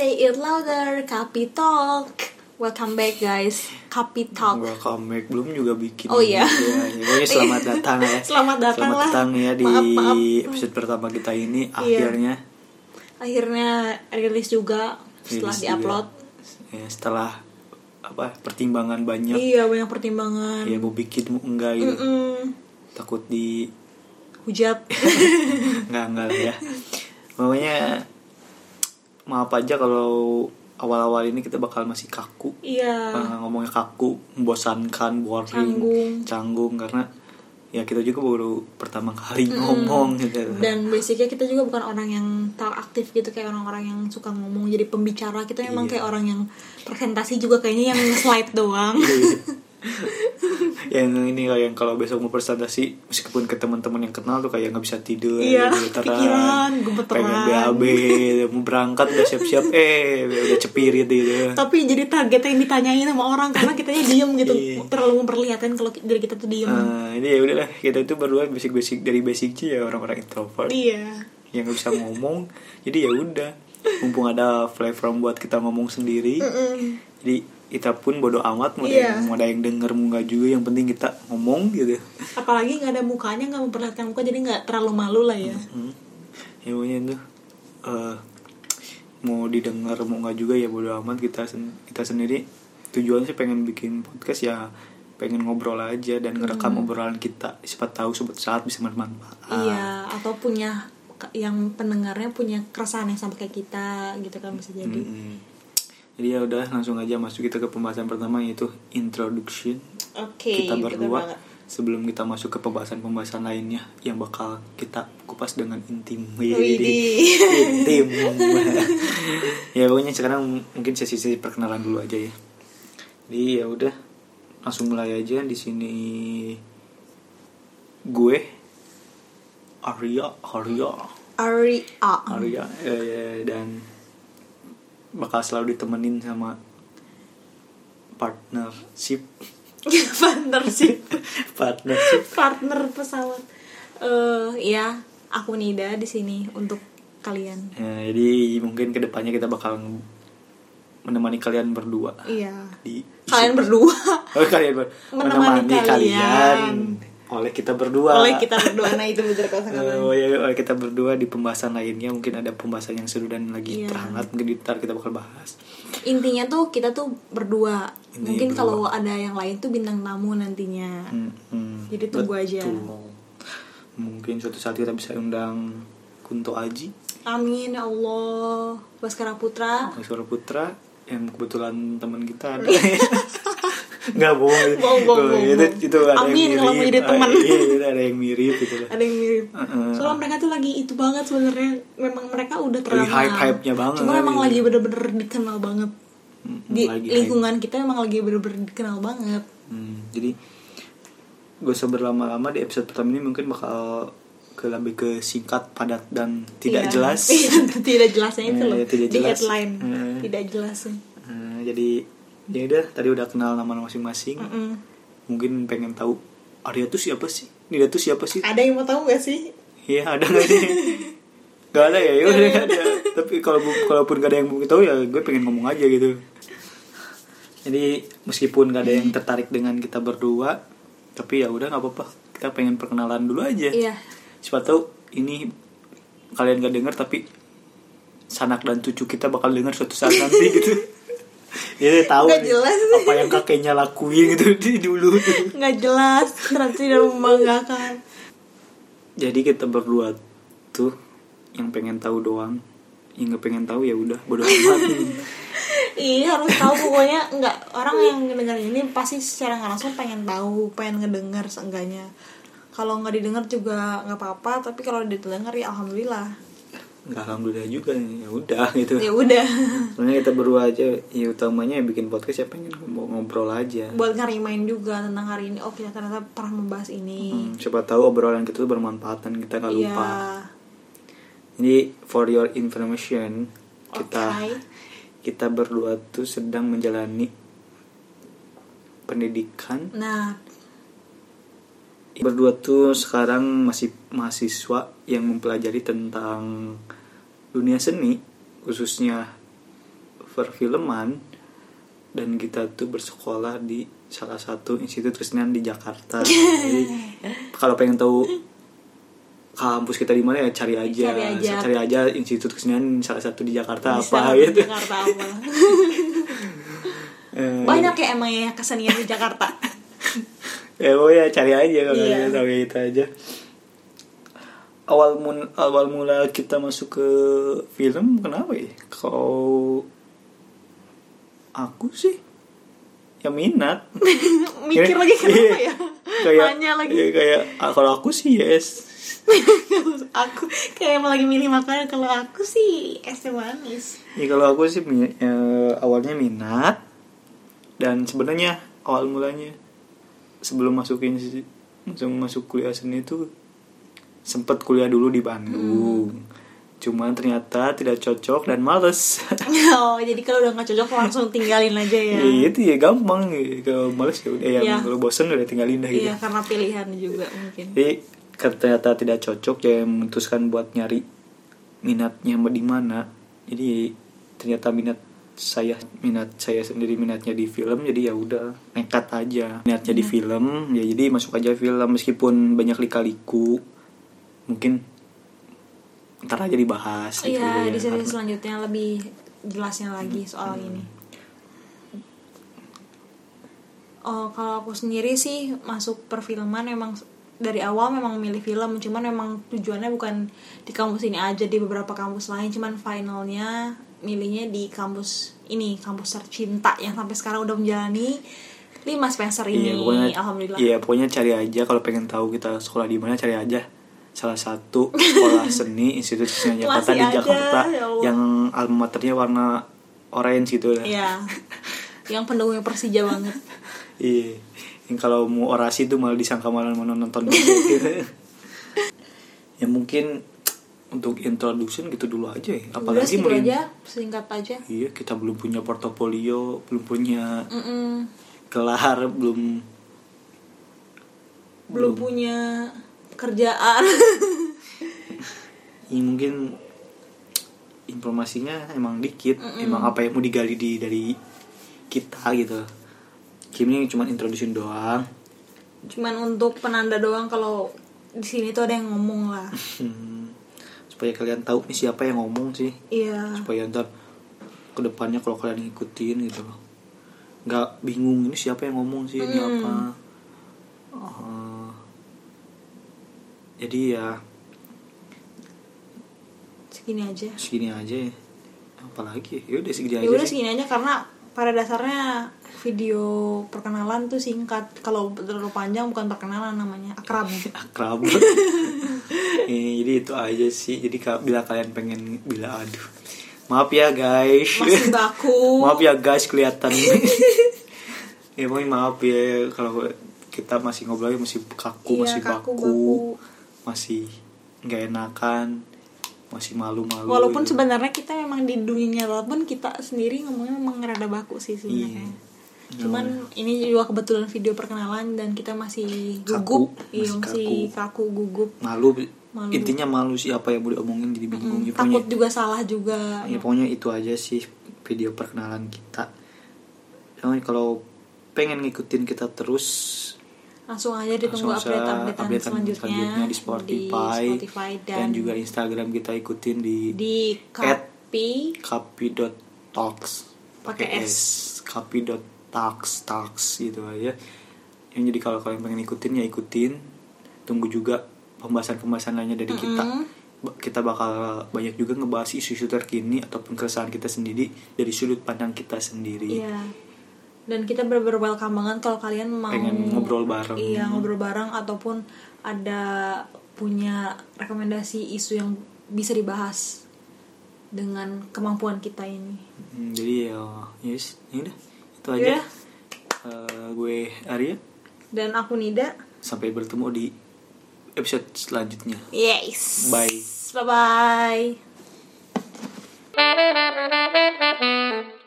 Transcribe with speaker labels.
Speaker 1: it louder, Kapi Talk. Welcome back guys, Kapi Talk.
Speaker 2: Welcome back belum juga bikin.
Speaker 1: Oh, iya.
Speaker 2: ini. Pokoknya selamat datang ya.
Speaker 1: Selamat datang
Speaker 2: Selamat
Speaker 1: lah.
Speaker 2: datang ya di
Speaker 1: Maaf, maaf.
Speaker 2: episode pertama kita ini
Speaker 1: Iya.
Speaker 2: akhirnya
Speaker 1: Akhirnya rilis juga setelah
Speaker 2: rilis
Speaker 1: diupload.
Speaker 2: juga. Ya, setelah apa pertimbangan banyak
Speaker 1: Iya banyak pertimbangan.
Speaker 2: ya mau bikin mau enggak gitu.
Speaker 1: Mm-mm.
Speaker 2: Takut di
Speaker 1: Hujat.
Speaker 2: enggak enggak lah ya. Pokoknya maaf aja kalau awal-awal ini kita bakal masih kaku.
Speaker 1: iya.
Speaker 2: Eh, ngomongnya kaku, membosankan, boring,
Speaker 1: Canggung.
Speaker 2: canggung karena ya kita juga baru pertama kali ngomong gitu.
Speaker 1: Dan basicnya kita juga bukan orang yang tak aktif gitu kayak orang-orang yang suka ngomong jadi pembicara kita memang
Speaker 2: Iya.
Speaker 1: kayak orang yang presentasi juga kayaknya yang slide doang.
Speaker 2: Iya. yang ini lah yang kalau besok mau presentasi meskipun ke teman-teman yang kenal tuh kayak nggak bisa tidur
Speaker 1: Iya,
Speaker 2: gitu, getaran,
Speaker 1: kepikiran, gemeteran.
Speaker 2: pengen BAB mau berangkat udah siap-siap eh udah cepirit gitu
Speaker 1: Tapi jadi targetnya yang ditanyain sama orang karena kitanya diem gitu
Speaker 2: Iya.
Speaker 1: terlalu memperlihatkan kalau ki- diri kita tuh diem.
Speaker 2: Eh, ini ya udahlah kita itu berdua basic-basic dari basicnya ya orang-orang introvert
Speaker 1: Iya.
Speaker 2: yang nggak bisa ngomong jadi ya udah mumpung ada platform buat kita ngomong sendiri
Speaker 1: Mm-mm.
Speaker 2: jadi kita pun bodo amat mau,
Speaker 1: Iya.
Speaker 2: ada, yang, mau ada yang denger mau nggak juga yang penting kita ngomong gitu
Speaker 1: apalagi nggak ada mukanya nggak memperlihatkan muka jadi nggak terlalu malu lah ya
Speaker 2: hmm. ya pokoknya itu eh, mau didengar mau nggak juga ya bodo amat kita sen- kita sendiri tujuan sih pengen bikin podcast ya pengen ngobrol aja dan ngerekam obrolan kita siapa tahu suatu saat bisa bermanfaat
Speaker 1: iya
Speaker 2: Ah.
Speaker 1: atau punya ke- yang pendengarnya punya keresahan yang sama kayak kita gitu kan bisa jadi
Speaker 2: Mm-mm. Jadi ya udah langsung aja masuk kita ke pembahasan pertama yaitu introduction
Speaker 1: oke
Speaker 2: kita
Speaker 1: bener
Speaker 2: berdua
Speaker 1: banget.
Speaker 2: sebelum kita masuk ke pembahasan-pembahasan lainnya yang bakal kita kupas dengan intim
Speaker 1: Widih.
Speaker 2: intim ya pokoknya sekarang mungkin sesi-sesi perkenalan dulu aja ya jadi ya udah langsung mulai aja di sini gue Arya Arya
Speaker 1: Aria
Speaker 2: Arya eh, ya, dan bakal selalu ditemenin sama partnership
Speaker 1: partner sih
Speaker 2: partnership
Speaker 1: partner pesawat eh ya aku Nida di sini untuk kalian
Speaker 2: Ya, jadi mungkin kedepannya kita bakal menemani kalian berdua
Speaker 1: iya
Speaker 2: di
Speaker 1: kalian berdua
Speaker 2: oh, kalian ber-
Speaker 1: Menemani
Speaker 2: menemani,
Speaker 1: kalian.
Speaker 2: kalian. oleh kita berdua
Speaker 1: oleh kita berdua nah itu bener kata
Speaker 2: Eh, oh ya, oleh kita berdua di pembahasan lainnya mungkin ada pembahasan yang seru dan lagi
Speaker 1: Iya.
Speaker 2: terhangat mungkin di ntar kita bakal bahas
Speaker 1: intinya tuh kita tuh berdua
Speaker 2: Intinya
Speaker 1: mungkin
Speaker 2: berdua.
Speaker 1: kalau ada yang lain tuh bintang tamu nantinya
Speaker 2: Hmm, hmm.
Speaker 1: Jadi tunggu aja.
Speaker 2: Betul. Mungkin suatu saat kita bisa undang Kunto Aji,
Speaker 1: Amin ya Allah Baskara Putra
Speaker 2: Suara Putra yang kebetulan teman kita ada. Nggak bohong.
Speaker 1: Bohong, bohong,
Speaker 2: Oh,
Speaker 1: bohong, bohong.
Speaker 2: itu, itu ada
Speaker 1: Amin kalau
Speaker 2: yang mirip.
Speaker 1: mau jadi
Speaker 2: Ah,
Speaker 1: teman.
Speaker 2: iya, itu ada yang mirip gitu lah.
Speaker 1: ada yang mirip
Speaker 2: Heeh.
Speaker 1: soalnya mereka tuh lagi itu banget sebenarnya memang mereka udah terkenal
Speaker 2: Lagi hype-hype-nya banget.
Speaker 1: cuma emang lagi bener-bener dikenal banget
Speaker 2: Mm,
Speaker 1: di
Speaker 2: lagi hype.
Speaker 1: lingkungan kita emang lagi bener-bener dikenal banget
Speaker 2: Hmm, jadi gak usah berlama-lama di episode pertama ini mungkin bakal ke lebih ke singkat, padat dan tidak
Speaker 1: Iya.
Speaker 2: jelas.
Speaker 1: tidak jelasnya itu
Speaker 2: Iya,
Speaker 1: loh
Speaker 2: iya, tidak
Speaker 1: di
Speaker 2: jelas.
Speaker 1: headline
Speaker 2: Heeh.
Speaker 1: tidak jelasnya
Speaker 2: Eh, jadi ya udah tadi udah kenal nama masing-masing.
Speaker 1: Mm-mm.
Speaker 2: mungkin pengen tahu Arya tuh siapa sih? Nida tuh siapa sih?
Speaker 1: ada yang mau tahu gak sih
Speaker 2: Iya ada nggak sih? gak ada ya, yaudah nggak ada. Tapi kalau bu- kalaupun gak ada yang mau tahu ya gue pengen ngomong aja gitu. Jadi meskipun gak ada yang tertarik dengan kita berdua, tapi ya udah nggak apa-apa. Kita pengen perkenalan dulu aja.
Speaker 1: iya
Speaker 2: Siapa tahu ini kalian gak denger tapi sanak dan cucu kita bakal denger suatu saat nanti gitu. Jadi tahu
Speaker 1: Nggak
Speaker 2: nih,
Speaker 1: jelas.
Speaker 2: apa yang kakeknya lakuin gitu di dulu.
Speaker 1: nggak jelas ternyata dan membanggakan
Speaker 2: jadi kita berdua tuh yang pengen tahu doang yang nggak pengen tahu ya udah bodo amat
Speaker 1: Iya harus tahu pokoknya nggak orang yang ngedengar ini pasti secara nggak langsung pengen tahu, pengen ngedengar seenggaknya. Kalau nggak didengar juga nggak apa-apa, tapi kalau didengar ya alhamdulillah.
Speaker 2: nggak alhamdulillah juga ya udah gitu
Speaker 1: Ya udah.
Speaker 2: soalnya kita berdua aja ya utamanya yang bikin podcast ya pengen ngobrol, ngobrol aja
Speaker 1: Buat ngerimain juga tentang hari ini. Oh kita ternyata pernah membahas ini.
Speaker 2: Hmm, siapa tahu obrolan kita tuh bermanfaat dan kita nggak
Speaker 1: Iya.
Speaker 2: Hmm, lupa jadi for your information kita
Speaker 1: Oke.
Speaker 2: kita berdua tuh sedang menjalani pendidikan
Speaker 1: Nah,
Speaker 2: berdua tuh sekarang masih mahasiswa yang mempelajari tentang dunia seni khususnya perfilman dan kita tuh bersekolah di salah satu institut kesenian di Jakarta. Jadi kalau pengen tahu kampus kita di mana ya cari aja,
Speaker 1: Cari aja.
Speaker 2: cari aja institut kesenian salah satu di Jakarta
Speaker 1: Di
Speaker 2: apa
Speaker 1: Semarang,
Speaker 2: gitu.
Speaker 1: Jakarta apa
Speaker 2: Eh,
Speaker 1: banyak ya emang ya kesenian di Jakarta
Speaker 2: ya oh ya cari aja kalau
Speaker 1: Iya.
Speaker 2: nggak tahu ya itu aja awal mun awal mula kita masuk ke film kenapa ya kau aku sih ya minat
Speaker 1: mikir lagi kenapa ya nanya
Speaker 2: iya,
Speaker 1: lagi
Speaker 2: kayak ah, kalau aku sih yes
Speaker 1: aku kayak emang lagi milih makanan kalau aku sih es teh manis
Speaker 2: ya, kalau aku sih mi- eh, awalnya minat dan sebenarnya awal mulanya sebelum masukin si- langsung masuk kuliah seni itu sempet kuliah dulu di Bandung
Speaker 1: Hmm.
Speaker 2: cuman ternyata tidak cocok dan males
Speaker 1: oh jadi kalau udah nggak cocok langsung tinggalin aja ya
Speaker 2: ya itu ya gampang kalau males ya udah ya,
Speaker 1: Iya.
Speaker 2: kalau bosen udah tinggalin dah gitu
Speaker 1: iya karena pilihan juga mungkin
Speaker 2: Jadi karena ternyata tidak cocok ya memutuskan buat nyari minatnya di mana. Jadi ternyata minat saya minat saya sendiri minatnya di film jadi ya udah nekat aja minatnya
Speaker 1: Hmm.
Speaker 2: di film ya jadi masuk aja film meskipun banyak lika-liku mungkin ntar aja dibahas gitu
Speaker 1: iya
Speaker 2: ya. Hmm.
Speaker 1: di seri
Speaker 2: Karena-
Speaker 1: selanjutnya lebih jelasnya lagi soal ini oh kalau aku sendiri sih masuk perfilman emang s- dari awal memang milih film cuman memang tujuannya bukan di kampus ini aja di beberapa kampus lain cuman finalnya milihnya di kampus ini kampus tercinta yang sampai sekarang udah menjalani lima semester ini
Speaker 2: Iya, pokoknya,
Speaker 1: alhamdulillah
Speaker 2: Iya, pokoknya cari aja kalau pengen tahu kita sekolah di mana cari aja salah satu sekolah seni Institut Seni
Speaker 1: Masih
Speaker 2: Jakarta di
Speaker 1: ada,
Speaker 2: Jakarta
Speaker 1: ya Allah.
Speaker 2: yang alma maternya warna orange gitu lah.
Speaker 1: Iya. yang pendukungnya Persija banget
Speaker 2: Iya. Yang kalau mau orasi tuh malah disangka malah mau nonton bioskop gitu. ya mungkin untuk introduction gitu dulu aja ya.
Speaker 1: Udah
Speaker 2: Apalagi
Speaker 1: segitu
Speaker 2: merin-
Speaker 1: gitu aja singkat aja
Speaker 2: Iya, kita belum punya portofolio, belum punya
Speaker 1: Mm-mm.
Speaker 2: gelar, belum
Speaker 1: belum punya kerjaan
Speaker 2: ini mungkin informasinya emang dikit emang apa yang mau digali di dari kita gitu Kimi cuma introduction doang
Speaker 1: cuman untuk penanda doang kalau di sini tuh ada yang ngomong lah
Speaker 2: Hmm. supaya kalian tahu nih siapa yang ngomong sih
Speaker 1: iya
Speaker 2: supaya ntar kedepannya kalau kalian ngikutin gitu loh nggak bingung ini siapa yang ngomong sih ini
Speaker 1: Hmm.
Speaker 2: apa Eh, jadi ya
Speaker 1: segini aja
Speaker 2: segini aja ya apalagi ya udah segini
Speaker 1: ya
Speaker 2: aja
Speaker 1: udah
Speaker 2: sih.
Speaker 1: segini aja karena pada dasarnya video perkenalan tuh singkat kalau terlalu panjang bukan perkenalan namanya akrab
Speaker 2: akrab Eh, jadi itu aja sih jadi ka- bila kalian pengen bila aduh maaf ya guys
Speaker 1: masih baku
Speaker 2: maaf ya guys kelihatan ya pokoknya maaf ya kalau kita masih ngobrolnya masih kaku
Speaker 1: Iya,
Speaker 2: masih
Speaker 1: kaku,
Speaker 2: baku,
Speaker 1: baku.
Speaker 2: masih nggak enakan masih malu-malu
Speaker 1: walaupun
Speaker 2: gitu.
Speaker 1: sebenarnya kita memang di dunia nyata pun kita sendiri ngomongnya memang rada baku sih sebenarnya
Speaker 2: Iya.
Speaker 1: cuman ini juga kebetulan video perkenalan dan kita masih gugup
Speaker 2: Kaku,
Speaker 1: iya masih
Speaker 2: masih
Speaker 1: kaku gugup
Speaker 2: malu,
Speaker 1: Malu.
Speaker 2: intinya malu sih apa yang mau diomongin jadi
Speaker 1: Mm,
Speaker 2: bingung Ya, pokoknya-
Speaker 1: takut juga salah juga
Speaker 2: ya pokoknya itu aja sih video perkenalan kita Soalnya kalau pengen ngikutin kita terus
Speaker 1: langsung aja ditunggu
Speaker 2: langsung
Speaker 1: update
Speaker 2: saja
Speaker 1: updatean
Speaker 2: updatean
Speaker 1: selanjutnya,
Speaker 2: di Spotify,
Speaker 1: di Spotify dan,
Speaker 2: dan juga Instagram kita ikutin di,
Speaker 1: di
Speaker 2: at-
Speaker 1: Kapi
Speaker 2: kapi.talks
Speaker 1: Pakai S.
Speaker 2: kapi.talks talks gitu aja yang jadi kalau kalian pengen ikutin ya ikutin tunggu juga pembahasan-pembahasan lainnya dari kita
Speaker 1: Mm-hmm.
Speaker 2: Ba- kita bakal banyak juga ngebahas isu-isu terkini ataupun keresahan kita sendiri dari sudut pandang kita sendiri
Speaker 1: Iya. dan kita bener-bener welcome banget kalau kalian mau
Speaker 2: pengen ngobrol bareng
Speaker 1: iya ngobrol bareng ataupun ada punya rekomendasi isu yang bisa dibahas dengan kemampuan kita ini
Speaker 2: Hmm, jadi ya yes ya udah itu aja
Speaker 1: Yaudah.
Speaker 2: Eh, gue Arya
Speaker 1: dan aku Nida
Speaker 2: sampai bertemu di episode selanjutnya
Speaker 1: yes
Speaker 2: Bye.
Speaker 1: bye bye